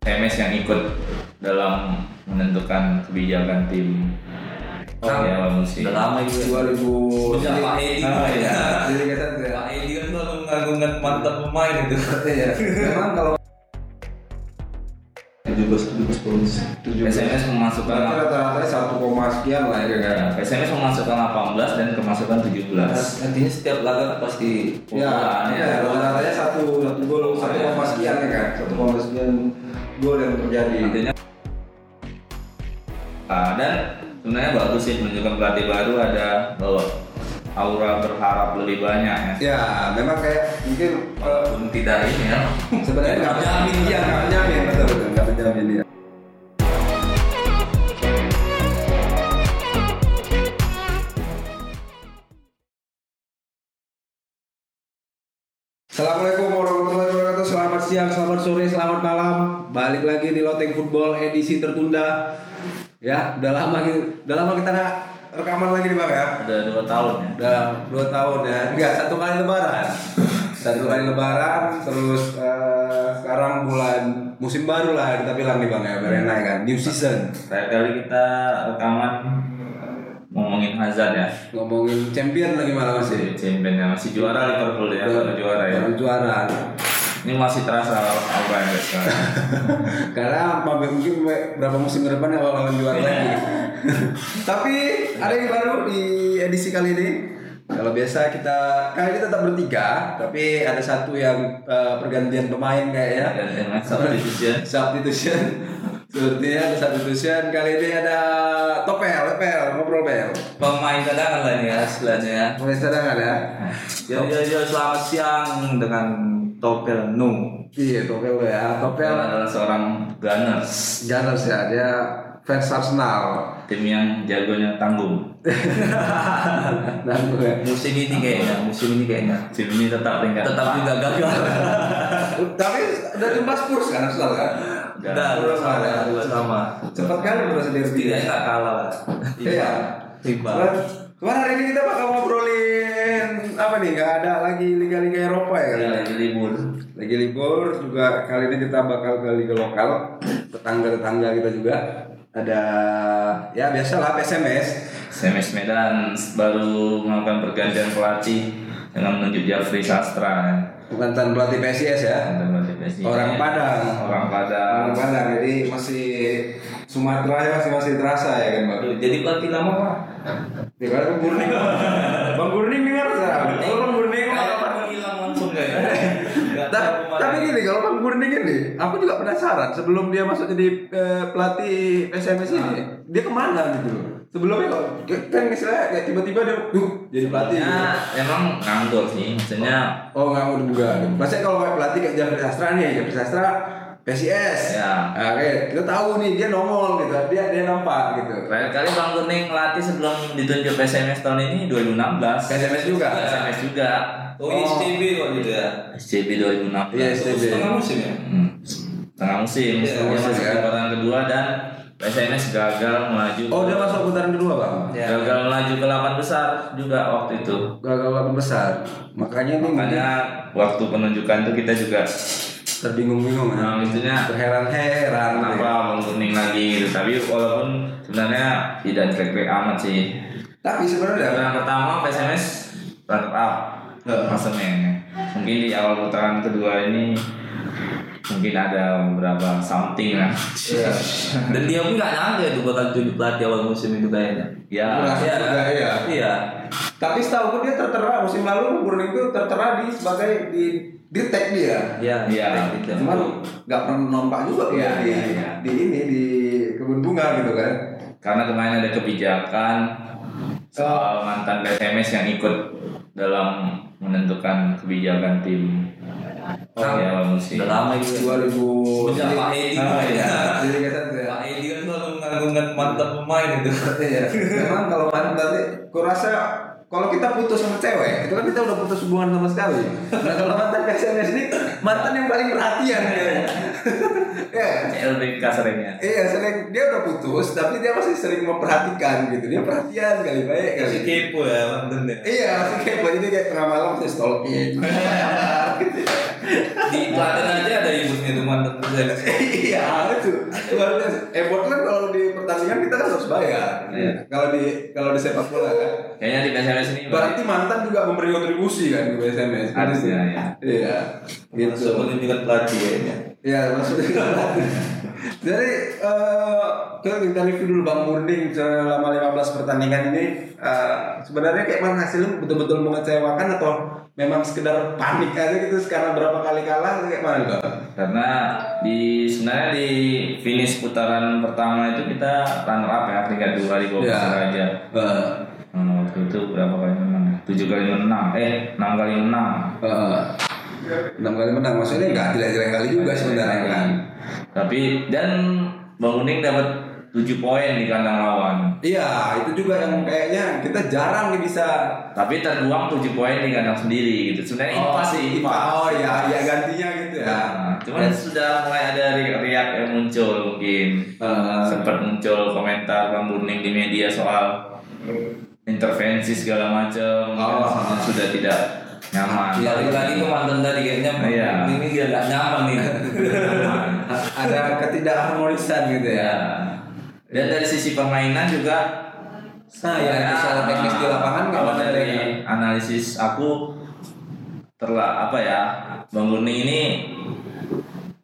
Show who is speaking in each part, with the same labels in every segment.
Speaker 1: TMS yang ikut dalam menentukan kebijakan tim awal musim.
Speaker 2: Udah lama itu.
Speaker 3: 2000
Speaker 2: Sejak Pak Edi.
Speaker 3: Ah,
Speaker 2: ya.
Speaker 3: iya. Jadi kita tuh ya.
Speaker 2: Pak Edi kan tuh mengagungkan mantap pemain itu.
Speaker 3: Iya. Memang kalau
Speaker 4: 17 17 tahun
Speaker 1: SMS memasukkan
Speaker 3: Berarti rata-rata 1, koma sekian lah ya kan.
Speaker 1: ya, SMS memasukkan 18 dan kemasukan 17.
Speaker 2: Nantinya setiap laga tuh pasti
Speaker 3: Ya,
Speaker 2: pembukaan,
Speaker 3: iya, rata-ratanya satu satu gol satu
Speaker 2: Iya.
Speaker 3: koma sekian ya kan. Satu koma sekian gol yang
Speaker 2: Iya.
Speaker 3: terjadi.
Speaker 1: Intinya Ah, dan sebenarnya bagus sih menunjukkan pelatih baru ada bahwa aura berharap lebih banyak ya.
Speaker 3: Ya, memang kayak mungkin eh,
Speaker 1: Walaupun tidak ini ya.
Speaker 3: sebenarnya nggak
Speaker 2: Nggak menjamin.
Speaker 3: Iya, nggak menjamin betul betul nggak menjamin ya. Assalamualaikum warahmatullahi wabarakatuh. Selamat siang, selamat sore, selamat malam. Balik lagi di Loteng Football edisi tertunda. Ya, udah lama gitu. Udah lama kita nggak rekaman lagi nih bang ya.
Speaker 1: Ada dua tahun ya.
Speaker 3: Udah dua tahun ya, enggak satu kali lebaran. Satu kali lebaran, terus eh, sekarang bulan musim baru lah kita bilang nih bang ya, baru naik kan, new season.
Speaker 1: Terakhir kali kita rekaman ngomongin Hazard ya.
Speaker 3: Ngomongin champion lagi malah masih.
Speaker 1: Championnya masih juara Liverpool ya, baru juara ya.
Speaker 3: Baru juara.
Speaker 1: Ini masih terasa aura yang ada sekarang.
Speaker 3: Karena sampai mungkin berapa musim ke depan ya bakalan juara
Speaker 1: Iya.
Speaker 3: lagi. Tapi ada yang baru di edisi kali ini. Kalau biasa kita kali ini tetap bertiga, tapi ada satu yang eh, pergantian pemain kayaknya.
Speaker 1: Dan dengan substitution
Speaker 3: substitution Sepertinya ada substitution kali ini ada topel, topel, ngobrol pel.
Speaker 2: Pemain cadangan lah ini ya istilahnya ya.
Speaker 3: Mulai cadangan ya.
Speaker 2: Yo yo yo selamat siang dengan Topel Nung.
Speaker 3: Iya, topel lo ya. Topel
Speaker 1: Dia adalah seorang gunners
Speaker 3: Gunners ya, dia fans Arsenal.
Speaker 1: tim yang jagonya tanggung.
Speaker 3: Dan gue
Speaker 2: Musim ini kayaknya, musim ini kayaknya
Speaker 1: Tim ini tetap peringkat
Speaker 2: tetap juga gagal.
Speaker 3: Tapi udah jumpa Spurs kan Arsenal kan?
Speaker 1: Udah.
Speaker 2: Udah, dua sama, dua sama.
Speaker 3: Cepat kan udah
Speaker 2: Tidak
Speaker 3: sendiri.
Speaker 1: iya.
Speaker 2: nggak kalah lah.
Speaker 3: Iya.
Speaker 2: Tiba.
Speaker 3: Cuman cuman hari ini kita bakal ngobrolin apa nih? Gak ada lagi liga-liga Eropa ya kali
Speaker 1: Dia
Speaker 3: ini?
Speaker 1: lagi libur.
Speaker 3: lagi libur juga kali ini kita bakal ke liga lokal tetangga-tetangga kita juga ada ya biasalah PSMS
Speaker 1: SMS Medan baru melakukan pergantian pelatih dengan menunjuk Jafri Sastra ya.
Speaker 3: mantan pelatih PSIS ya
Speaker 1: Mantan pelatih Persija.
Speaker 3: orang Padang
Speaker 1: Iya. Orang Padang.
Speaker 3: orang Padang jadi masih Sumatera ya masih masih terasa ya kan
Speaker 1: Iya.
Speaker 3: bang
Speaker 2: Jadi pelatih lama Pak.
Speaker 3: ya kan Bang Gurni Bang Gurni dengar nggak? kalau Bang Gurni
Speaker 2: Kayak orang hilang langsung kayak. Nggak
Speaker 3: Ta-
Speaker 2: tahu kemana.
Speaker 3: tapi gini kalau Bang Gurni gini aku juga penasaran sebelum dia masuk jadi eh, pelatih PSMS
Speaker 1: Ah.
Speaker 3: ini dia kemana gitu sebelumnya kok kan misalnya kayak tiba-tiba dia "Duh, jadi pelatih
Speaker 1: Ya,
Speaker 3: gitu.
Speaker 1: emang nganggur sih, maksudnya
Speaker 3: Oh nggak mau juga. Maksudnya kalau kayak pelatih kayak Jafri Sastra nih, Jafri Sastra PSIS.
Speaker 1: Ya.
Speaker 3: Nah, Oke, kita tahu nih dia nongol gitu, dia dia nampak gitu.
Speaker 1: terakhir kali Bang Kuning melatih sebelum ditunjuk PSMS tahun ini 2016.
Speaker 3: PSMS juga.
Speaker 1: PSMS juga.
Speaker 2: Oh, ini STB kok gitu ya.
Speaker 1: SCB 2016.
Speaker 3: Iya, SCB.
Speaker 2: Setengah musim ya.
Speaker 1: Hmm. Setengah musim,
Speaker 2: Iya,
Speaker 1: dia
Speaker 3: musim,
Speaker 1: masuk
Speaker 3: ya.
Speaker 1: ke putaran kedua dan PSMS gagal melaju.
Speaker 3: Oh Iya. dia masuk putaran kedua bang.
Speaker 2: Ya.
Speaker 1: Gagal melaju ke 8 besar juga waktu itu.
Speaker 3: Gagal lawan besar. Makanya nih
Speaker 1: Makanya waktu penunjukan itu kita juga
Speaker 3: terbingung-bingung ya.
Speaker 1: nah, maksudnya
Speaker 3: Terheran-heran. gitu.
Speaker 1: kenapa Bang Kuning lagi gitu. Tapi walaupun sebenarnya tidak jelek-jelek amat sih.
Speaker 3: Tapi sebenarnya
Speaker 1: Putaran pertama PSMS runner up klasemennya. Mungkin di awal putaran kedua ini mungkin ada beberapa something lah.
Speaker 3: Iya.
Speaker 2: Dan dia pun nggak nyangka itu bakal tunjuk pelatih awal musim itu kayaknya.
Speaker 1: Ya,
Speaker 3: Merasa juga, iya.
Speaker 2: Iya.
Speaker 3: Tapi setahu gue dia tertera musim lalu Gurni itu tertera di sebagai di di tag dia.
Speaker 2: Iya.
Speaker 1: Iya.
Speaker 2: Gitu.
Speaker 3: Cuman nggak pernah nompak juga
Speaker 1: Iya,
Speaker 3: di,
Speaker 1: iya, iya.
Speaker 3: di ini di kebun bunga gitu kan.
Speaker 1: karena kemarin ada kebijakan soal mantan PSMS yang ikut dalam menentukan kebijakan tim di awal musim.
Speaker 2: Udah lama itu.
Speaker 3: 2000
Speaker 2: Sejak Pak Edi
Speaker 3: Ah,
Speaker 2: mulai.
Speaker 3: iya. Jadi kata tuh ya.
Speaker 2: Pak Edi kan selalu mengagungkan mantap pemain itu.
Speaker 3: Iya. Memang kalau mantan berarti kurasa kalau kita putus sama cewek, itu kan kita udah putus hubungan sama sekali. Nah kalau mantan PSMS ini mantan yang paling perhatian ya. Iya.
Speaker 1: CLBK seringnya.
Speaker 3: Iya, sering dia udah putus, tapi dia masih sering memperhatikan gitu. Dia perhatian kali baik
Speaker 1: Iya.
Speaker 3: kali.
Speaker 2: Kasih kepo ya mantan ya.
Speaker 3: Iya, masih kepo jadi kayak tengah malam saya stalking. Gitu.
Speaker 2: Di Klaten aja ada ibunya tuh mantan presiden.
Speaker 3: iya itu luar biasa effort kan kalau di pertandingan kita kan harus bayar
Speaker 1: Iya.
Speaker 3: kalau di kalau di sepak bola kan
Speaker 1: Kayaknya di PSMS ini
Speaker 3: berarti mantan juga memberi kontribusi kan di BSMS
Speaker 1: Harusnya, ya.
Speaker 3: iya
Speaker 2: Langsung
Speaker 3: gitu
Speaker 2: menunjukkan pelatih kayaknya.
Speaker 3: Iya maksudnya Jadi eh kita kita review dulu Bang Munding selama 15 pertandingan ini eh, sebenarnya kayak mana hasilnya betul-betul mengecewakan atau memang sekedar panik aja gitu sekarang berapa kali kalah kayak mana nih, Bang?
Speaker 1: karena di sebenarnya di finish putaran pertama itu kita runner up ya peringkat dua di bawah
Speaker 3: Iya.
Speaker 1: aja.
Speaker 3: Eh,
Speaker 1: Nah, waktu itu berapa kali menang? ya? Tujuh kali menang. Eh, enam kali menang.
Speaker 3: eh, enam kali menang maksudnya nggak jelek-jelek kali juga sebenarnya kan.
Speaker 1: Tapi dan Bang Kuning dapat tujuh poin di kandang lawan.
Speaker 3: Iya itu juga yang kayaknya kita jarang nih bisa
Speaker 1: Tapi terbuang tujuh poin di kandang sendiri gitu. Sebenarnya
Speaker 3: Oh,
Speaker 1: ipas sih, ipas.
Speaker 3: Oh iya iya gantinya gitu ya.
Speaker 1: Nah, cuman sudah mulai ada riak-riak yang muncul mungkin.
Speaker 3: Eh,
Speaker 1: sempat muncul komentar Bang Burning di media soal intervensi segala macam
Speaker 3: Oh. Iya,
Speaker 1: Kan sudah tidak nyaman.
Speaker 2: Balik Iya, lagi ke mantan tadi kayaknya.
Speaker 1: Iya.
Speaker 2: Ini dia nggak nyaman nih.
Speaker 1: Nyaman.
Speaker 3: ada ketidakharmonisan gitu
Speaker 1: Ya.
Speaker 3: ya.
Speaker 1: Dan dari sisi permainan juga
Speaker 3: Nah, ya
Speaker 1: sebenarnya,
Speaker 3: secara teknis di lapangan nggak ya.
Speaker 1: kalau
Speaker 3: ada
Speaker 1: dari
Speaker 3: yang-
Speaker 1: analisis aku terla apa ya Bang Burning ini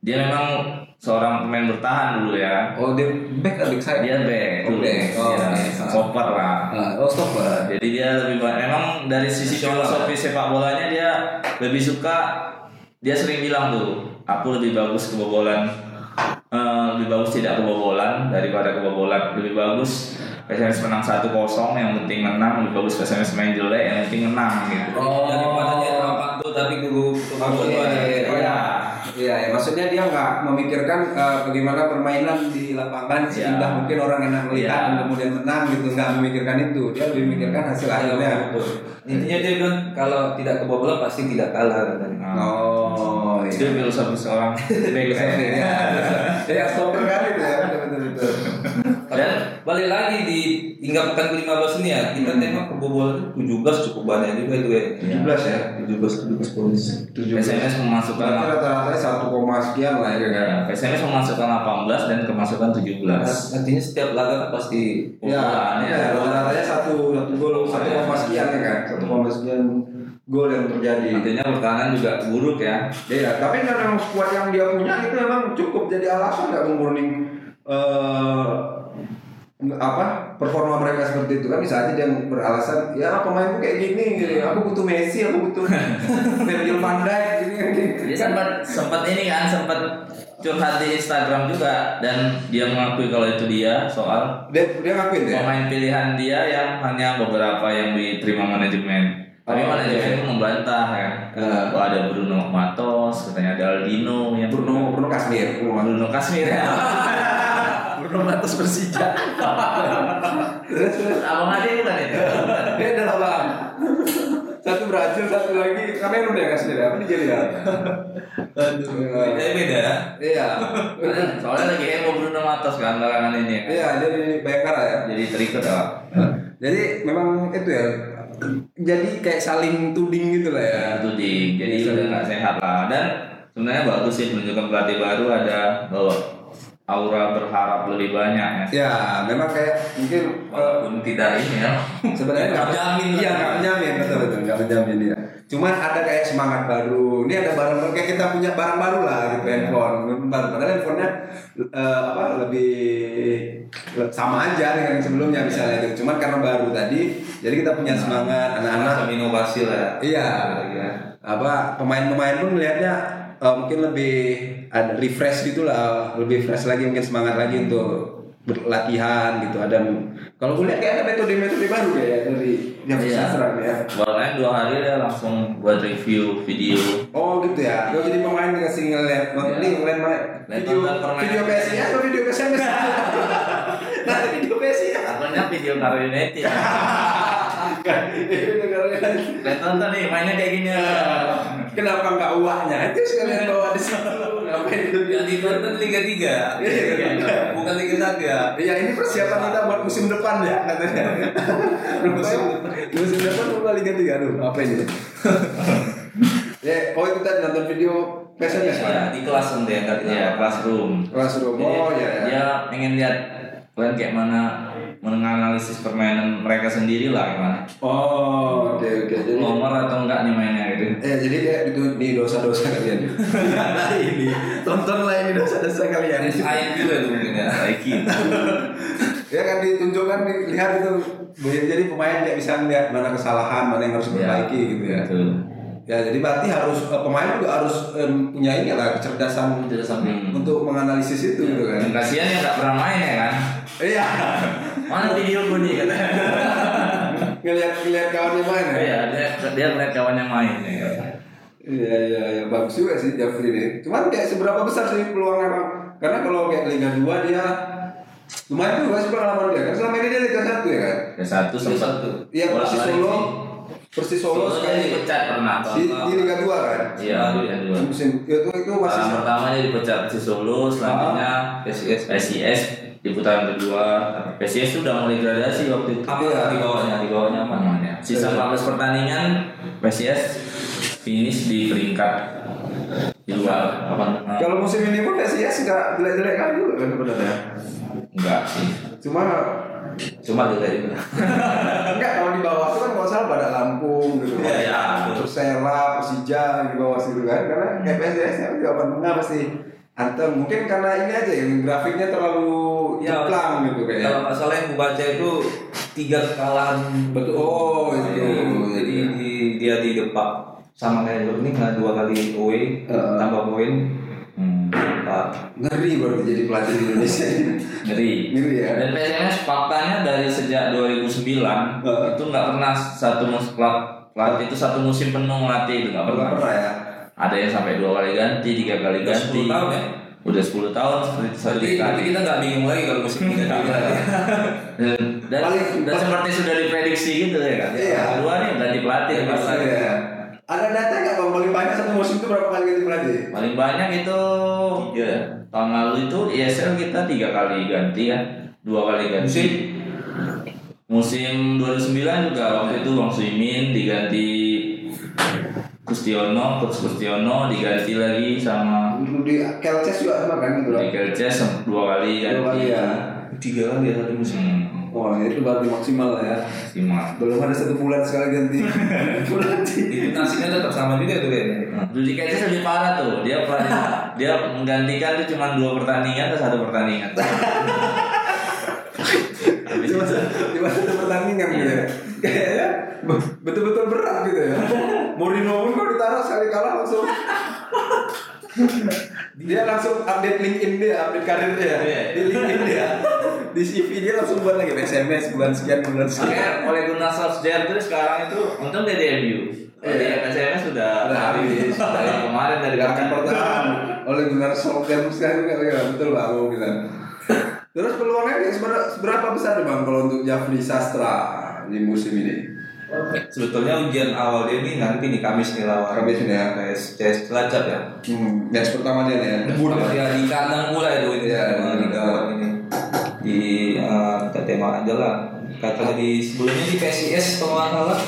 Speaker 1: dia memang seorang pemain bertahan dulu ya.
Speaker 3: Oh, dia back atau back side?
Speaker 1: Dia back
Speaker 3: Oh,
Speaker 1: dulu,
Speaker 3: back. Oh,
Speaker 1: ya,
Speaker 3: oke.
Speaker 1: stopper lah.
Speaker 3: Ah, oh, stopper.
Speaker 1: Jadi dia lebih banyak emang dari sisi filosofi
Speaker 3: ya?
Speaker 1: sepak bolanya dia lebih suka dia sering bilang tuh aku lebih bagus kebobolan eh, lebih bagus tidak kebobolan daripada kebobolan lebih bagus PSMS menang 1-0 yang penting menang lebih bagus PSMS main jelek yang penting menang gitu.
Speaker 3: Oh.
Speaker 2: Daripada dia tampak tuh tapi gugup
Speaker 1: Iya,
Speaker 2: tukang
Speaker 3: Oke,
Speaker 2: bola.
Speaker 3: oh ya. Iya, ya. maksudnya dia nggak memikirkan eh, bagaimana permainan di lapangan seindah
Speaker 1: Iya. Hmm.
Speaker 3: mungkin orang enak melihat
Speaker 1: Iya.
Speaker 3: dan kemudian menang gitu, nggak memikirkan itu. Dia lebih memikirkan hasil
Speaker 1: ya,
Speaker 3: akhirnya.
Speaker 2: gitu. Intinya dia bilang kalau tidak kebobolan pasti tidak kalah katanya.
Speaker 1: Nah,
Speaker 3: Oh,
Speaker 1: itu
Speaker 3: iya.
Speaker 1: filosofi seorang back
Speaker 3: Filosofi,
Speaker 1: end.
Speaker 3: ya. Ya, stopper kali itu ya, betul-betul.
Speaker 2: Dan balik lagi di hingga pekan ke-15 ini ya, kita
Speaker 1: Hmm.
Speaker 2: tengok kebobolan 17 cukup banyak juga itu ya.
Speaker 3: 17 ya.
Speaker 2: 17 17 poin.
Speaker 3: 17.
Speaker 1: PSMS memasukkan
Speaker 3: Berarti rata-ratanya 1, sekian lah ya.
Speaker 1: ya, PSMS memasukkan 18 dan kemasukan 17.
Speaker 2: Artinya setiap laga kan pasti
Speaker 3: Ya,
Speaker 1: Kebobolannya
Speaker 3: ya, rata-ratanya satu satu gol satu koma sekian ya kan, satu koma sekian gol yang terjadi.
Speaker 1: Artinya pertahanan juga buruk ya.
Speaker 3: Iya, tapi kan memang squad yang dia punya itu memang cukup jadi alasan nggak menguruning eh apa performa mereka seperti itu kan bisa aja dia beralasan ya pemainku kayak gini, gini. aku butuh Messi aku butuh Virgil van Dijk gitu kan, gini gini
Speaker 1: Dia sempat sempat ini kan sempat curhat di Instagram juga dan dia mengakui kalau itu dia soal
Speaker 3: dia dia ngakuin ya
Speaker 1: pemain pilihan dia yang hanya beberapa yang diterima manajemen. Tapi
Speaker 3: Oh,
Speaker 1: manajemen membantah kan.
Speaker 3: Eh.
Speaker 1: Kalau ada Bruno Matos, katanya ada Aldino yang
Speaker 3: Bruno Bruno Kasmir Bruno
Speaker 1: Bruno Kasmir ya. Bruno Matos Persija. Abang Ade bukan itu.
Speaker 3: Dia adalah bang. Satu Brazil, satu lagi karena udah kasih ya, apa jadi ya? Aduh.
Speaker 2: bedanya beda.
Speaker 3: Iya.
Speaker 1: Soalnya lagi heboh Bruno Matos kan belakangan ini.
Speaker 3: Iya, jadi bayangkara ya.
Speaker 1: Jadi terikut apa?
Speaker 3: Eh. Jadi memang itu ya. Jadi kayak saling tuding gitu lah ya.
Speaker 1: itu di jadi
Speaker 3: Iya,
Speaker 1: udah
Speaker 3: iya.
Speaker 1: nggak sehat lah dan sebenarnya bagus sih menunjukkan pelatih baru ada bahwa aura berharap lebih banyak ya
Speaker 3: Ya, memang kayak mungkin eh,
Speaker 1: walaupun tidak ini ya
Speaker 3: sebenarnya nggak
Speaker 2: Nggak menjamin lah.
Speaker 3: Iya, nggak menjamin betul betul nggak menjamin ya. Cuman ada kayak semangat baru. Ini ada barang baru kayak kita punya barang baru lah gitu handphone. Barang padahal handphonenya eh, apa lebih sama aja dengan yang sebelumnya misalnya gitu. Cuman karena baru tadi, jadi kita punya semangat anak-anak
Speaker 2: Sama inovasi lah.
Speaker 3: Iya.
Speaker 2: Iya.
Speaker 3: Apa pemain-pemain pun melihatnya eh, mungkin lebih ada refresh gitulah, lebih fresh lagi mungkin semangat lagi untuk berlatihan gitu. Ada kalau gue lihat kayak ada metode-metode baru kayak dari yang
Speaker 1: Iya.
Speaker 3: sekarang ya.
Speaker 1: bahkan dua hari dia langsung buat review video
Speaker 3: Oh gitu ya. Gue jadi pemain dikasih ngeliat, Bang,
Speaker 1: Iya.
Speaker 3: ini ngeliat mana?
Speaker 1: Lihat
Speaker 3: Video
Speaker 1: nonton permainan.
Speaker 3: video PSI atau video PSMS? nah, video PSI ya.
Speaker 1: katanya video Karo United
Speaker 3: Iya.
Speaker 1: lihat nonton nih mainnya kayak gini ya
Speaker 3: Kenapa nggak uahnya? Itu sekalian bawa di situ. Ngapain itu di-
Speaker 2: Yang di Banten Liga 3.
Speaker 3: Iya.
Speaker 2: Bukan Liga 3.
Speaker 3: Ya ini persiapan kita buat musim depan ya katanya. musim, musim depan mau Liga 3 aduh, apa ini? Ya, oh kita nonton video
Speaker 2: Iya,
Speaker 3: PSMS
Speaker 2: iya,
Speaker 3: kan?
Speaker 2: di kelas nanti yang tadi.
Speaker 1: Iya, classroom.
Speaker 3: Classroom,
Speaker 1: Jadi,
Speaker 3: oh iya ya.
Speaker 1: Dia pengen lihat kalian kayak mana menganalisis permainan mereka sendiri lah gimana.
Speaker 3: Oh, oke oke. Jadi,
Speaker 1: Nomor atau enggak nih mainnya gitu.
Speaker 3: eh, jadi kayak itu di dosa-dosa kalian. nah ini, tontonlah ini dosa-dosa kalian.
Speaker 2: Ada ayat juga itu mungkin ya.
Speaker 1: Baiki.
Speaker 3: ya kan ditunjukkan dilihat itu. ya, Jadi pemain tidak bisa melihat mana kesalahan, mana yang harus diperbaiki gitu ya.
Speaker 1: Betul.
Speaker 3: Ya, jadi berarti harus eh, pemain juga harus em, punya ini lah kecerdasan
Speaker 1: Hmm.
Speaker 3: untuk menganalisis itu gitu kan.
Speaker 1: Dan kasihan yang nggak pernah main ya kan.
Speaker 3: Iya.
Speaker 1: Mana video gue nih katanya.
Speaker 3: ngelihat ngelihat kawannya main ya.
Speaker 1: Iya, dia dia ngeliat kawan yang main ya. kan.
Speaker 3: Iya iya iya bagus juga sih Jafri ini. Cuman kayak seberapa besar sih peluangnya bang? Karena kalau kayak Liga 2 dia lumayan juga sih pengalaman dia kan selama ini dia Liga 1 ya kan?
Speaker 1: Yang satu sempat
Speaker 2: satu.
Speaker 3: Iya
Speaker 1: bolak-balik
Speaker 3: Persis Solo,
Speaker 1: sih.
Speaker 3: Persis Solo
Speaker 1: Solo dia
Speaker 3: sekali
Speaker 1: dipecat pernah atau
Speaker 3: di,
Speaker 1: apa.
Speaker 3: di Liga 2 kan?
Speaker 1: Nah, Iya, dia dua. Nah,
Speaker 3: Musim itu itu masih
Speaker 1: Putaran pertamanya dipecat si Solo, selanjutnya PCS, PCS di putaran kedua. PCS sudah mulai gradasi waktu itu.
Speaker 2: Apa
Speaker 3: Iya.
Speaker 2: di bawahnya?
Speaker 1: Di bawahnya apa namanya? Sisa 14 pertandingan PCS finish di peringkat di luar apa? eh,
Speaker 3: kalau musim ini pun ya PSIS nggak jelek-jelek kan juga kan sebenarnya.
Speaker 1: Enggak sih.
Speaker 3: Cuma
Speaker 1: Cuma
Speaker 2: gitu
Speaker 1: juga itu.
Speaker 3: enggak kalau di bawah itu kan nggak salah pada Lampung gitu.
Speaker 1: Iya, iya.
Speaker 3: terus Serap, Persija di bawah situ kan karena kayak PSIS kan juga papan tengah pasti Antem mungkin karena ini aja yang grafiknya terlalu
Speaker 1: Iya.
Speaker 3: jeplang gitu kayaknya
Speaker 2: Kalau nggak salah yang gue baca itu tiga kekalahan gitu.
Speaker 3: Betul. Oh, itu.
Speaker 1: Iya,
Speaker 2: iya, jadi di, dia di depan sama kayak lu ini nggak dua kali away
Speaker 3: Heeh.
Speaker 2: tambah poin
Speaker 1: Hmm,
Speaker 2: Pak.
Speaker 3: ngeri baru jadi pelatih di Indonesia
Speaker 1: ngeri.
Speaker 3: ngeri ya
Speaker 1: Dan PSMS faktanya dari sejak 2009
Speaker 3: Heeh.
Speaker 1: itu nggak pernah satu musim pelatih itu satu musim penuh ngelatih itu nggak
Speaker 3: nggak
Speaker 1: pernah.
Speaker 3: pernah ya
Speaker 1: Ada yang sampai dua kali ganti, tiga kali
Speaker 2: Udah
Speaker 1: ganti.
Speaker 2: 10 tahun ya?
Speaker 1: Udah 10 tahun seperti satu
Speaker 2: Jadi
Speaker 1: kali.
Speaker 2: nanti kita nggak bingung lagi kalau musim ini nggak bingung lagi.
Speaker 1: Dan, dan,
Speaker 3: Paling-
Speaker 1: dan seperti sudah diprediksi gitu ya kan.
Speaker 3: Iya.
Speaker 1: Kedua nih ganti pelatih. ganti
Speaker 3: Pasti
Speaker 1: pelatih.
Speaker 3: ya. ada data nggak bang paling banyak satu musim itu berapa kali gitu, ganti pelatih
Speaker 1: Paling banyak itu ya,
Speaker 2: Tiga.
Speaker 1: tahun lalu itu ISL kita tiga kali ganti ya, dua kali ganti.
Speaker 2: Musim?
Speaker 1: Musim 2009 juga waktu itu Bang Suimin diganti Kustiono, Coach Kustiono diganti lagi sama
Speaker 3: Dulu di Kelces juga sama kan gitu loh
Speaker 1: Michael Chess dua kali
Speaker 3: dua kali
Speaker 1: ganti.
Speaker 3: ya
Speaker 2: Tiga kali ya satu musim.
Speaker 1: Hmm,
Speaker 3: wah itu baru maksimal ya
Speaker 1: Simak.
Speaker 3: belum ada satu bulan sekali ganti pelatih
Speaker 2: Itu nasibnya tetap sama juga tuh kayaknya.
Speaker 1: Dudi Kece lebih parah tuh. Dia pernah- dia menggantikan tuh cuma dua pertandingan atau satu pertandingan. Habis
Speaker 3: cuma
Speaker 1: itu
Speaker 3: cuma satu pertandingan gitu ya kayaknya be- betul-betul berat gitu ya Mourinho pun kalau ditaruh sekali kalah langsung dia langsung update LinkedIn dia update karirnya ya di LinkedIn dia di CV dia langsung buat lagi SMS bulan sekian bulan
Speaker 1: Makanya
Speaker 3: sekian
Speaker 1: oleh Gunnar Solskjaer tuh sekarang itu untung dia debut.
Speaker 3: Iya.
Speaker 1: Iya. Kacanya sudah
Speaker 3: Udah habis.
Speaker 1: Dari kemarin dari
Speaker 3: gerakan
Speaker 1: kemarin.
Speaker 3: pertahanan oleh Gunnar Solskjaer sekarang juga ya betul bang Mau bilang terus peluangnya kayak seber- seberapa besar nih bang kalau untuk Jafri Sastra di musim ini
Speaker 2: Sebetulnya ujian awal dia ini nanti nih Kamis nih lawan.
Speaker 3: Kamis ini ya.
Speaker 2: CS CS Cilacap ya.
Speaker 3: hmm, match pertama dia nih ya debut ya.
Speaker 2: Sama dia di kandang pula itu ini
Speaker 3: Iya,
Speaker 2: sama
Speaker 3: iya.
Speaker 2: di gawang ini. Di eh, kita tema aja lah. Katanya di sebelumnya di PSIS kalau nggak salah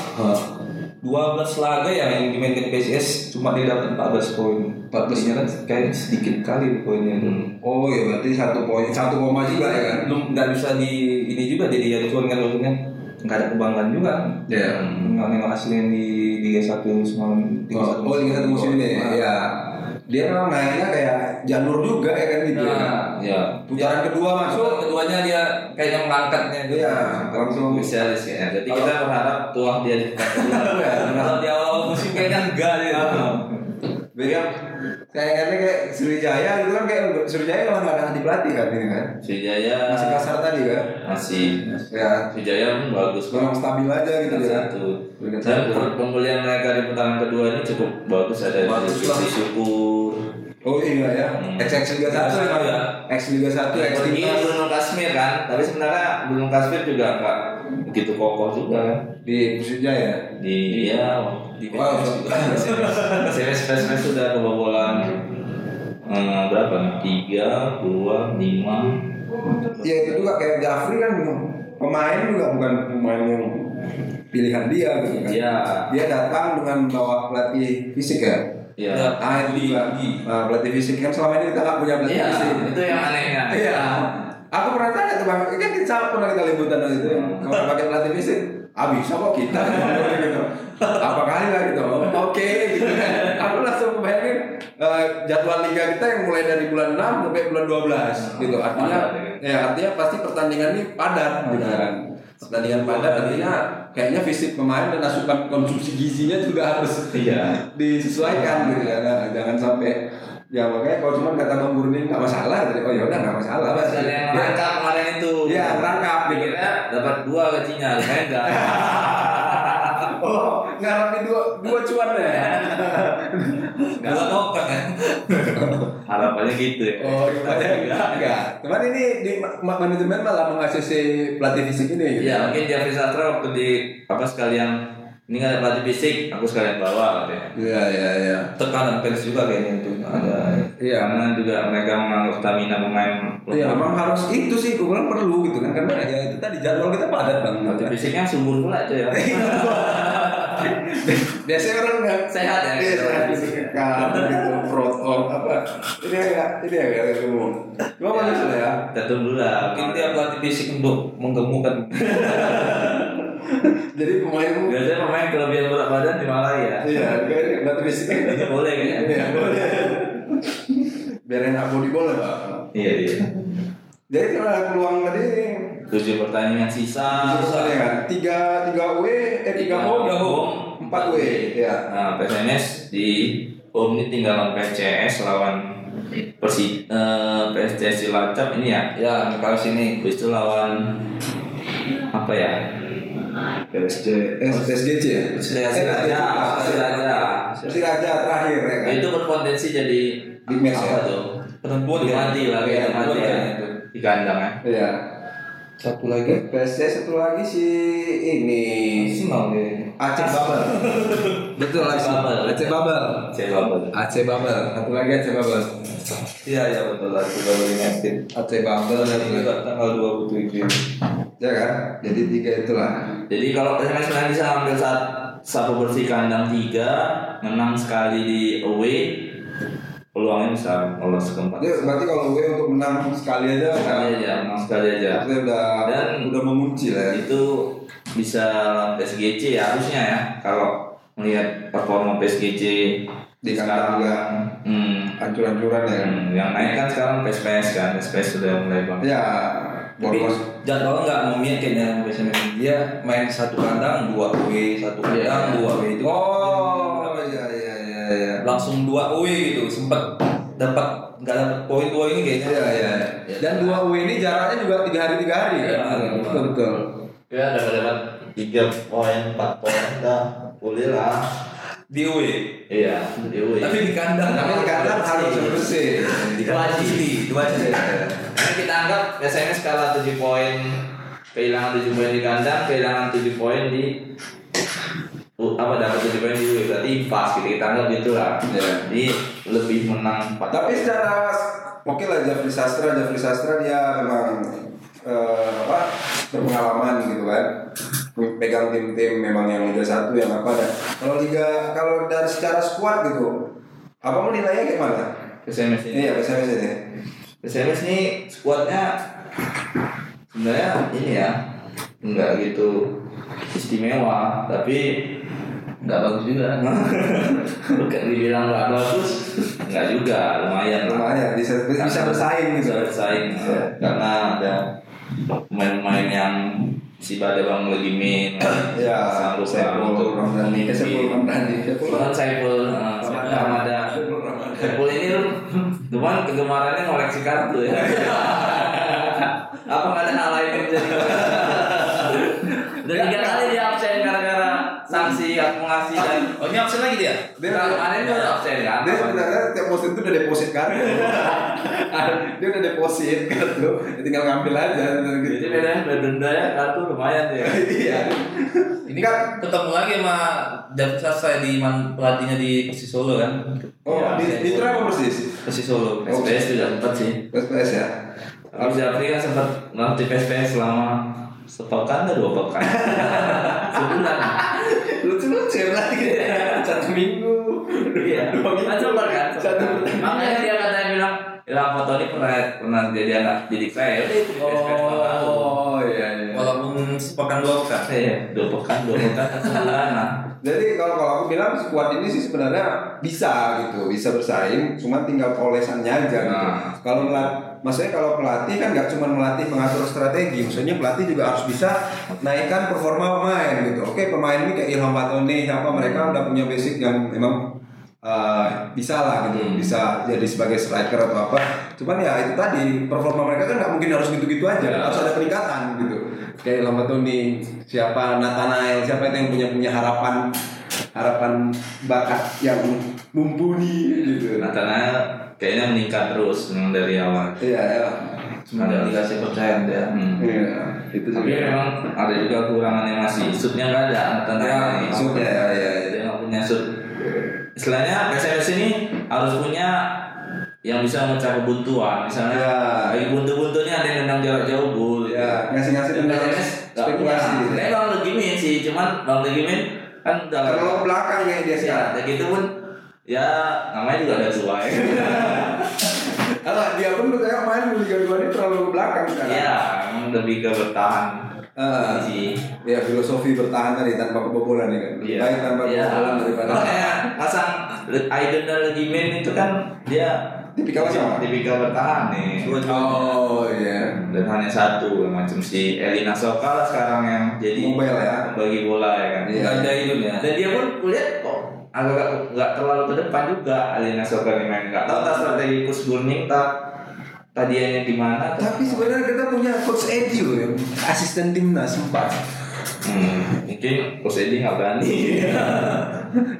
Speaker 2: 12 laga ya yang dimainkan PSIS cuma dia dapat 14 poin. 14 nya kan kayaknya sedikit kali poinnya itu.
Speaker 3: Oh ya berarti satu poin satu koma juga ya kan?
Speaker 2: Belum nggak bisa di ini juga jadi ya cuman kan maksudnya nggak ada kebanggaan juga.
Speaker 3: Iya.
Speaker 2: Nggak nengok hasil yang di Liga 1 semalam. Liga
Speaker 3: Oh,
Speaker 2: satu
Speaker 3: oh Liga satu musim ini
Speaker 2: Nah,
Speaker 3: ya. Dia memang naiknya kayak janur juga ya kan gitu. ya.
Speaker 2: Nah,
Speaker 1: Iya.
Speaker 3: Putaran kedua masuk.
Speaker 2: So, keduanya dia kayaknya melangkatnya dia.
Speaker 3: Iya langsung.
Speaker 1: Spesialis kayaknya. Jadi
Speaker 2: Kalau-
Speaker 1: kita berharap tuah dia di tempat kedua.
Speaker 3: Ya,
Speaker 2: Kalau di awal musim kayaknya enggak dia.
Speaker 3: Ah. Beda. Kayak kayaknya kayak Sriwijaya gitu kan kayak Sriwijaya kalau nggak ada hati pelatih kan ini kan.
Speaker 2: Nah.
Speaker 1: Sujaya
Speaker 3: Masih kasar tadi kan.
Speaker 1: masih
Speaker 3: Ya
Speaker 1: Sujaya pun bagus
Speaker 3: memang stabil aja gitu
Speaker 1: Peringkat
Speaker 3: ya.
Speaker 1: satu.
Speaker 3: Peringkat
Speaker 1: Saya
Speaker 3: satu.
Speaker 1: menurut pembelian mereka di putaran kedua ini cukup bagus ada
Speaker 2: Bagus
Speaker 1: dari
Speaker 2: lah.
Speaker 1: sisi syukur.
Speaker 3: Oh iya ya.
Speaker 1: Hmm.
Speaker 3: X X Liga satu
Speaker 2: Liga
Speaker 3: emang
Speaker 2: satu,
Speaker 3: ya.
Speaker 2: ya.
Speaker 3: X Liga satu X
Speaker 1: Pergi
Speaker 3: Timnas.
Speaker 1: Bruno Kasmir kan, tapi sebenarnya Bruno Kasmir juga nggak begitu kokoh juga kan.
Speaker 3: di Sriwijaya.
Speaker 1: Di dia
Speaker 2: Di
Speaker 3: Wow.
Speaker 2: PSIS juga.
Speaker 1: SMS SMS sudah kebobolan eh, berapa? Tiga, dua, lima.
Speaker 3: Ya itu juga kayak Jafri kan pemain juga bukan pemain yang pilihan dia gitu kan.
Speaker 1: Iya.
Speaker 3: Dia datang dengan bawa pelatih fisik ya.
Speaker 1: Iya.
Speaker 3: Ah itu juga. Nah, pelatih fisik kan selama ini kita nggak punya pelatih
Speaker 1: Iya,
Speaker 3: fisik.
Speaker 1: itu yang anehnya.
Speaker 3: Iya. Aku pernah tanya tuh bang, kan kita pernah kita liputan waktu itu. Kalau pakai pelatih fisik, ah bisa kok kita gitu. Apa kali lah gitu. Oke gitu kan. Aku langsung bayangin eh, jadwal liga kita yang mulai dari bulan 6 sampai bulan 12 gitu. Artinya
Speaker 1: Padat,
Speaker 3: ya artinya pasti pertandingan ini padat gitu kan. Pertandingan padat artinya kayaknya fisik pemain dan asupan konsumsi gizinya juga harus
Speaker 1: Iya.
Speaker 3: disesuaikan gitu ya Nah, jangan sampai ya makanya kalau cuma kata bang Burni nggak masalah jadi oh ya udah nggak masalah
Speaker 1: Apa
Speaker 3: Mas.
Speaker 1: sekali yang
Speaker 3: Ya,
Speaker 1: merangkap kemarin itu?
Speaker 3: Iya, merangkap, gitu.
Speaker 1: Akhirnya dapat dua gajinya, lumayan enggak?
Speaker 3: oh ngarangin dua dua cuan ya
Speaker 1: Dua token kan? Harapannya gitu ya.
Speaker 3: oh rupanya enggak enggak cuman ini di ma- ma- manajemen malah mengasosiasi pelatih fisik ini gitu.
Speaker 1: Iya, mungkin Jeffrey Sastra waktu di apa sekalian ini nggak ada pelatih fisik, aku sekalian bawa katanya.
Speaker 3: iya iya iya
Speaker 2: tekanan pers juga kayaknya itu ada
Speaker 3: Iya.
Speaker 1: Karena juga mereka menganggap stamina pemain
Speaker 3: Iya, memang harus itu sih, gue bilang perlu gitu kan karena ya itu tadi jadwal kita padat
Speaker 1: Pelatih
Speaker 3: banget.
Speaker 1: fisiknya subur pula itu ya.
Speaker 3: Biasanya orang nggak
Speaker 1: Sehat ya.
Speaker 3: Iya, sehat fisikal, gitu, protokol apa? Ini agak, ini agak ketemu. Cuma bagus lah ya.
Speaker 1: Kita tunggu lah.
Speaker 2: mungkin dia pelatih fisik untuk menggemukkan
Speaker 3: Jadi pemain
Speaker 1: Biasanya pemain kelebihan berat badan di ya. Malaya.
Speaker 3: Iya, kayak batu fisiknya
Speaker 1: Ini boleh kayaknya.
Speaker 3: Iya, boleh. Biar enak body boleh, Pak.
Speaker 1: Iya, iya.
Speaker 3: Jadi kalau ada peluang tadi
Speaker 1: Tujuh pertandingan sisa. iya.
Speaker 3: misalnya kan tiga tiga W eh
Speaker 1: Tiga
Speaker 3: tiga home
Speaker 1: home,
Speaker 3: empat W ya
Speaker 1: Nah, PSNS di Om ini tinggal lawan PCS lawan Persi eh, PSCS Cilacap ini ya.
Speaker 2: ya kalau sini
Speaker 1: Habis itu lawan apa ya?
Speaker 3: S SGC ya
Speaker 1: Persiraja, Persiraja.
Speaker 3: Persiraja terakhir ya kan
Speaker 1: Itu berpotensi jadi
Speaker 3: Big match
Speaker 1: apa
Speaker 3: ya?
Speaker 1: tuh?
Speaker 2: penentuan
Speaker 1: Adu
Speaker 2: ya
Speaker 1: mati lah
Speaker 3: Iya,
Speaker 1: kayak mati
Speaker 2: adu
Speaker 1: ya.
Speaker 2: mati itu.
Speaker 1: Di kandang ya.
Speaker 3: iya
Speaker 2: satu lagi
Speaker 3: PSG satu lagi si ini
Speaker 2: Arsenal kayaknya
Speaker 3: Aceh Babel betul
Speaker 1: Aceh
Speaker 3: Aceh
Speaker 1: Babel.
Speaker 3: Aceh Babel
Speaker 1: Coba
Speaker 3: Aceh Babel satu lagi Aceh Babel
Speaker 2: iya iya betul lah juga beli United
Speaker 3: Aceh Babel dan
Speaker 2: Ini juga tanggal 27 ya.
Speaker 3: ya kan jadi tiga itulah
Speaker 1: Jadi kalau PSNS nanti bisa ambil saat satu bersih kandang tiga, menang sekali di away, peluangnya bisa lolos keempat.
Speaker 3: jadi berarti kalau gue untuk menang sekali aja
Speaker 1: Sekali aja, menang sekali aja.
Speaker 3: Maksudnya udah
Speaker 1: iya, Dan-
Speaker 3: udah mengunci lah ya.
Speaker 1: itu bisa SGC ya harusnya ya kalau melihat performa PSG
Speaker 3: di kandang juga
Speaker 1: hmm,
Speaker 3: ancur-ancuran ya kan.
Speaker 1: hmm, yang naik kan sekarang PSPS kan PSPS sudah mulai banget
Speaker 3: ya
Speaker 2: tapi
Speaker 3: boros
Speaker 2: jadwal nggak ngomongin kayaknya biasanya dia main satu kandang dua W satu
Speaker 1: Iya.
Speaker 2: kandang dua W itu
Speaker 3: oh iya iya iya iya
Speaker 2: langsung dua W gitu sempet dapat nggak dapat poin dua ini kayaknya
Speaker 3: Iya, iya. Dan dua W ini jaraknya juga tiga hari tiga hari
Speaker 2: Iya,
Speaker 3: kan.
Speaker 2: iya.
Speaker 3: Betul betul.
Speaker 4: Ya dapat dapat tiga poin, empat poin, dah boleh lah.
Speaker 2: di W
Speaker 1: iya Dewi
Speaker 2: tapi di kandang
Speaker 3: Tapi kadang harus bersih.
Speaker 2: dua jili dua jili
Speaker 1: Iya. Ini kita anggap SMS kalah 7 poin kehilangan 7 poin di kandang kehilangan 7 poin di Uh, apa dapat 7 poin di away berarti pas gitu kita anggap gitulah
Speaker 3: Iya.
Speaker 1: jadi lebih menang 4
Speaker 3: Tapi secara oke lah Jafri Sastra, Jafri Sastra dia memang eh, apa berpengalaman gitu kan pegang tim-tim memang yang Liga 1 yang apa dan kalau Liga kalau dari secara squad gitu apa mau nilainya kayak mana?
Speaker 1: SMS ini
Speaker 3: Iya, biasanya sini.
Speaker 1: SMS nih skuadnya sebenarnya ini ya nggak gitu istimewa tapi nggak bagus juga bukan dibilang nggak bagus nggak juga lumayan lah
Speaker 3: Lumayan bisa bisa bersaing gitu.
Speaker 1: bisa bersaing iya. karena ada pemain-pemain yang si Bada Bang lagi main Iya.
Speaker 3: Ya,
Speaker 1: sanggup lah
Speaker 3: Saiful
Speaker 1: untuk
Speaker 3: Ramdhani, eh, Saiful
Speaker 1: memimpin.
Speaker 3: Ramdhani, Saiful
Speaker 1: Cuman Saiful eh, Saiful Ramada Saiful ini cuman kegemarannya koleksi kartu ya Apa nggak ada hal lain yang jadi Udah tiga kali dia absen gara-gara sanksi akumulasi dan
Speaker 4: Oh ini absen lagi dia?
Speaker 1: Dia kemarin dia udah absen kan
Speaker 3: Dia sebenarnya tiap musim itu udah deposit kartu. dia udah deposit kartu, ya tinggal ngambil aja. gitu.
Speaker 1: Jadi bedanya beda denda ya kartu lumayan ya
Speaker 3: Iya.
Speaker 4: Ini
Speaker 3: Kan-
Speaker 4: kan ketemu lagi sama David Sasa di man, pelatihnya di Persis Solo kan?
Speaker 3: Oh,
Speaker 1: Iya,
Speaker 3: di,
Speaker 4: saya-
Speaker 3: di Tra apa persis?
Speaker 4: Persis
Speaker 1: Oh,
Speaker 4: Solo.
Speaker 1: SPS sudah sempat sih
Speaker 3: SPS ya.
Speaker 1: Tapi Jafri kan sempat ngelatih PSPS selama
Speaker 4: sepekan atau dua pekan sebulan
Speaker 2: Lucu-lucu berarti kita satu minggu.
Speaker 1: Iya.
Speaker 2: Dua minggu.
Speaker 1: Coba kan.
Speaker 2: Satu
Speaker 1: Makanya dia katanya bilang, ya foto ini pernah pernah jadi anak didik saya. Udah
Speaker 2: Iya,
Speaker 1: itu respect sama aku."
Speaker 3: Oh iya iya.
Speaker 2: Walaupun sepekan dua pekan.
Speaker 1: Iya, dua pekan, dua pekan, Kan, sebulan lah.
Speaker 3: Jadi kalau kalau aku bilang squad ini sih sebenarnya bisa gitu, bisa bersaing, cuma tinggal olesannya aja gitu.
Speaker 1: Nah.
Speaker 3: Kalau melat, maksudnya kalau pelatih kan nggak cuma melatih mengatur strategi, maksudnya pelatih juga harus bisa naikkan performa pemain gitu. Oke, pemain ini kayak Ilham Fatoni, apa mereka udah punya basic yang memang uh, bisa lah gitu, bisa jadi sebagai striker atau apa. Cuman ya itu tadi performa mereka kan nggak mungkin harus gitu-gitu aja, harus ada peningkatan gitu. Kayak Ilham Fatoni, siapa Nathanael, siapa itu yang punya punya harapan harapan bakat yang mumpuni gitu.
Speaker 1: Nathanael kayaknya meningkat terus memang dari awal.
Speaker 3: Iya, ya.
Speaker 1: Ada.
Speaker 4: sebenarnya dikasih percayaan dia
Speaker 1: Hmm.
Speaker 3: Iya, itu
Speaker 1: Tapi memang ada juga kekurangannya masih. Shootnya nggak ada
Speaker 4: Iya,
Speaker 1: Nathanael
Speaker 3: Ya,
Speaker 1: ini.
Speaker 3: maksudnya ya, ya, ya.
Speaker 1: Dia nggak punya shoot. Istilahnya PSMS ini harus punya yang bisa memecah kebuntuan. Misalnya
Speaker 3: Ya.
Speaker 1: lagi buntu-buntunya ada yang nendang jarak jauh bul.
Speaker 3: Ya, ngasih-ngasih
Speaker 1: Iya,
Speaker 3: tentang spekulasi. gitu.
Speaker 1: Tapi Bang Legimin sih, cuman Bang Legimin kan udah
Speaker 3: Terlalu ke belakang kayak dia
Speaker 1: ya,
Speaker 3: sekarang.
Speaker 1: dan gitu pun ya namanya juga ada tua ya.
Speaker 3: Kalau dia pun menurut saya main di Liga 2 ini terlalu ke belakang sekarang.
Speaker 1: Iya, emang lebih ke bertahan.
Speaker 3: Eh,
Speaker 1: sih.
Speaker 3: ya filosofi bertahan tadi tanpa kebobolan ya kan. Lebih
Speaker 1: Iya.
Speaker 3: Baik tanpa
Speaker 1: Iya.
Speaker 3: kebobolan daripada
Speaker 1: Kalau kayak pasang Aiden dan Legimin itu kan dia
Speaker 3: Tipikal sama.
Speaker 1: tipikal bertahan nih.
Speaker 3: Oh iya.
Speaker 1: dan hanya satu macam si Elina Soka lah sekarang yang jadi
Speaker 3: Mobile ya.
Speaker 1: bagi bola ya kan
Speaker 3: Iya.
Speaker 2: Gak ada hidupnya.
Speaker 1: dan dia pun kulihat kok agak nggak terlalu ke depan juga Elina Soka nih main nggak tahu tak strategi Kus Burning tak tadiannya di mana tak-
Speaker 3: Tapi sebenarnya kita punya coach Edi loh yang asisten timnas empat.
Speaker 1: hmm, mungkin Kus Edi nggak berani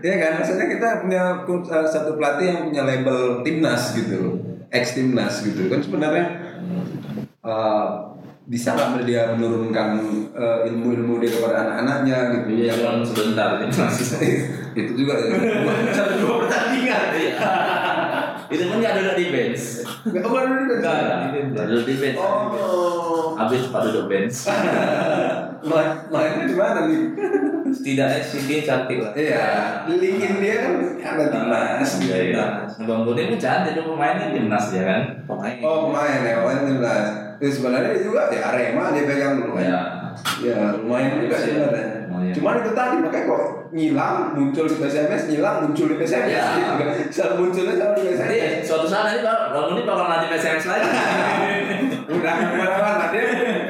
Speaker 3: Iya kan, maksudnya kita punya coach, eh, satu pelatih yang punya label timnas gitu loh, ex timnas gitu kan sebenarnya eh, bisa nggak dia menurunkan eh, ilmu-ilmu dia kepada anak-anaknya gitu
Speaker 1: dia
Speaker 3: ya
Speaker 1: bilang sebentar ini masih
Speaker 3: itu juga ya.
Speaker 1: dua pertandingan itu pun nggak duduk di bench
Speaker 3: Nggak, bukan, bukan.
Speaker 1: nggak nggak duduk di bench
Speaker 3: oh Nah,
Speaker 1: habis pak duduk bench Nah,
Speaker 3: main mainnya di mana nih
Speaker 1: eh,
Speaker 2: Setidaknya si dia cantik lah.
Speaker 3: iya linkin dia kan ada timnas gitu.
Speaker 1: Iya, iya. Bang Budi pun cantik tuh pemainnya timnas ya kan.
Speaker 2: Pemain.
Speaker 3: oh pemain ya pemain timnas itu sebenarnya dia juga ya Arema dia pegang dulu kan
Speaker 1: Nah,
Speaker 3: Ya lumayan juga sih sebenarnya.
Speaker 1: Lumayan.
Speaker 3: Cuman itu tadi makanya kok ngilang muncul di PSMS, ngilang muncul di PSMS.
Speaker 1: Ya.
Speaker 3: gitu kan. Selalu munculnya selalu di
Speaker 1: Jadi
Speaker 3: PSMS.
Speaker 1: suatu saat nanti Bang Bang Budi bakal ngelatih PSMS lagi.
Speaker 3: Udah nggak kemana-mana dia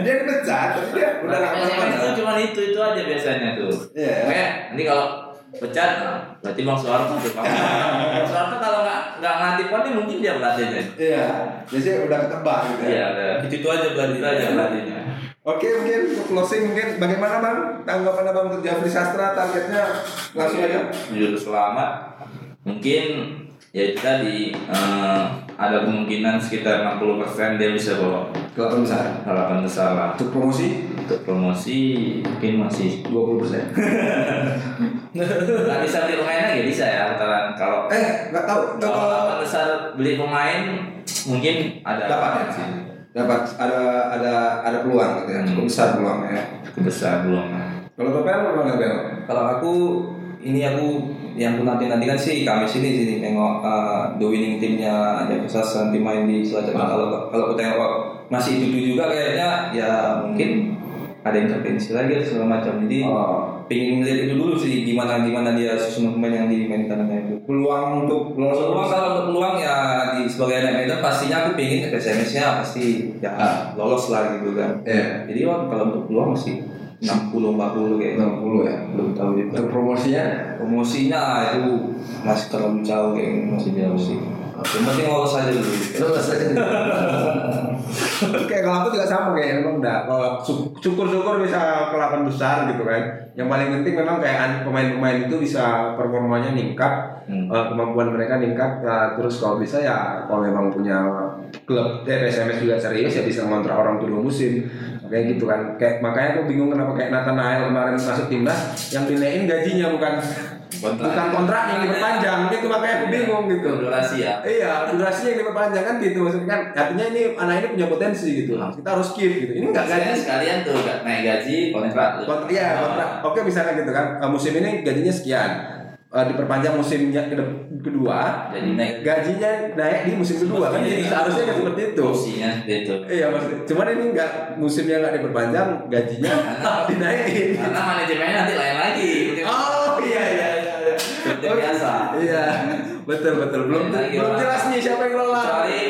Speaker 3: dia dipecat, tapi dia udah nggak
Speaker 1: PSMS itu
Speaker 3: kemana-mana.
Speaker 1: cuma itu itu aja biasanya tuh.
Speaker 3: Iya.
Speaker 1: Kayak nanti kalau pecat, nah, berarti Bang Soeharto tuh. Bang Bang Soeharto kalau nggak nggak ngelatih pon nih mungkin dia berlatihnya.
Speaker 3: Iya, biasanya udah ketebak gitu ya.
Speaker 1: Iya, udah. itu itu aja berarti itu aja berlatihnya.
Speaker 3: Oke, mungkin untuk closing mungkin bagaimana bang tanggapan abang untuk Jafri Sastra targetnya langsung aja.
Speaker 1: Jujur selamat. Mungkin ya itu tadi eh, ada kemungkinan sekitar 60% dia bisa bawa
Speaker 3: Kelapan besar.
Speaker 1: harapan besar lah.
Speaker 3: Untuk promosi
Speaker 1: untuk promosi mungkin masih
Speaker 3: 20 persen.
Speaker 1: nggak bisa beli pemain lagi bisa ya antara kalau
Speaker 3: Eh, nggak tahu. Nggak
Speaker 1: kalau
Speaker 3: kalau
Speaker 1: lawan besar beli pemain mungkin ada
Speaker 3: dapat ya?
Speaker 1: sih
Speaker 3: Dapat ada ada ada peluang gitu ya. Cukup
Speaker 1: Hmm.
Speaker 3: besar peluangnya ya.
Speaker 1: besar belum
Speaker 3: Kalau topel mana topel?
Speaker 2: Kalau aku ini aku yang aku nanti nantikan sih Kamis ini sini tengok uh, the winning timnya ada Pusas nanti main di Cilacap.
Speaker 1: Ah.
Speaker 2: Kalau kalau aku tengok masih itu juga kayaknya ya mungkin ada intervensi lagi atau segala macam. Jadi
Speaker 3: Oh.
Speaker 2: pingin lihat itu dulu sih gimana gimana dia susunan pemain yang dimainkan sama itu.
Speaker 3: Peluang untuk lolos
Speaker 2: Kalau peluang kalau untuk peluang ya di, sebagai anak medan pastinya aku pingin SMS-nya pasti ya lolos lah gitu kan.
Speaker 3: Iya.
Speaker 2: Jadi wah, kalau untuk peluang masih 60 40
Speaker 3: 60 ya.
Speaker 2: kayaknya. gitu. Belum tahu juga.
Speaker 3: Untuk promosinya
Speaker 2: promosinya itu masih terlalu jauh kayak gini, masih jauh sih yang penting lolos aja dulu
Speaker 3: lolos aja. Oke, kalau aku juga sama kayak memang enggak. Kalau su- syukur-syukur bisa ke lapan besar gitu kan. Yang paling penting memang kayak an- pemain-pemain itu bisa performanya meningkat, eh, kemampuan mereka meningkat. eh, terus kalau bisa ya kalau memang punya klub eh, PSMS juga serius ya bisa ngontrak orang tuh dua musim. Kayak gitu kan. Kayak makanya aku bingung kenapa kayak Nathanael kemarin masuk timnas yang dinaikkan gajinya bukan bukan kontrak yang diperpanjang gitu makanya aku bingung gitu
Speaker 1: durasi ya
Speaker 3: iya durasinya yang diperpanjang kan gitu maksudnya kan artinya ini anak ini punya potensi gitu
Speaker 1: Hmm.
Speaker 3: lah kita harus keep gitu ini nggak
Speaker 1: Maksudnya
Speaker 3: gaji
Speaker 1: sekalian tuh nggak naik gaji kontrak tuh.
Speaker 3: kontrak ya kontrak oke misalkan gitu kan eh, musim ini gajinya sekian Eh, diperpanjang musim yang kede- kedua
Speaker 1: jadi naik Iya.
Speaker 3: gajinya naik di musim kedua kan jadi seharusnya kan seperti itu
Speaker 1: kursinya gitu
Speaker 3: iya maksudnya cuman ini nggak musimnya nggak diperpanjang gajinya dinaikin
Speaker 1: karena manajemennya nanti lain lagi mungkin
Speaker 3: oh iya iya iya iya.
Speaker 1: seperti biasa Iya,
Speaker 3: iya betul betul belum
Speaker 1: Lagi
Speaker 3: belum
Speaker 1: orang.
Speaker 3: jelas nih siapa yang ngelola
Speaker 1: kecuali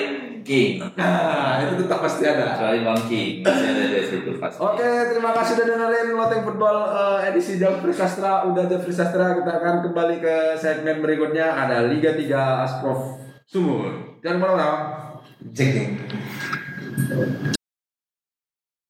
Speaker 1: King
Speaker 3: nah itu tetap pasti ada
Speaker 1: kecuali Bang King masih ada di situ pasti
Speaker 3: Oke, terima kasih sudah dengerin Loteng Football eh, edisi Jafri Sastra. Udah Jafri Sastra, kita akan kembali ke segmen berikutnya. Ada Liga 3 Asprof Sumur. Jangan kemana-mana.
Speaker 2: Cek nih.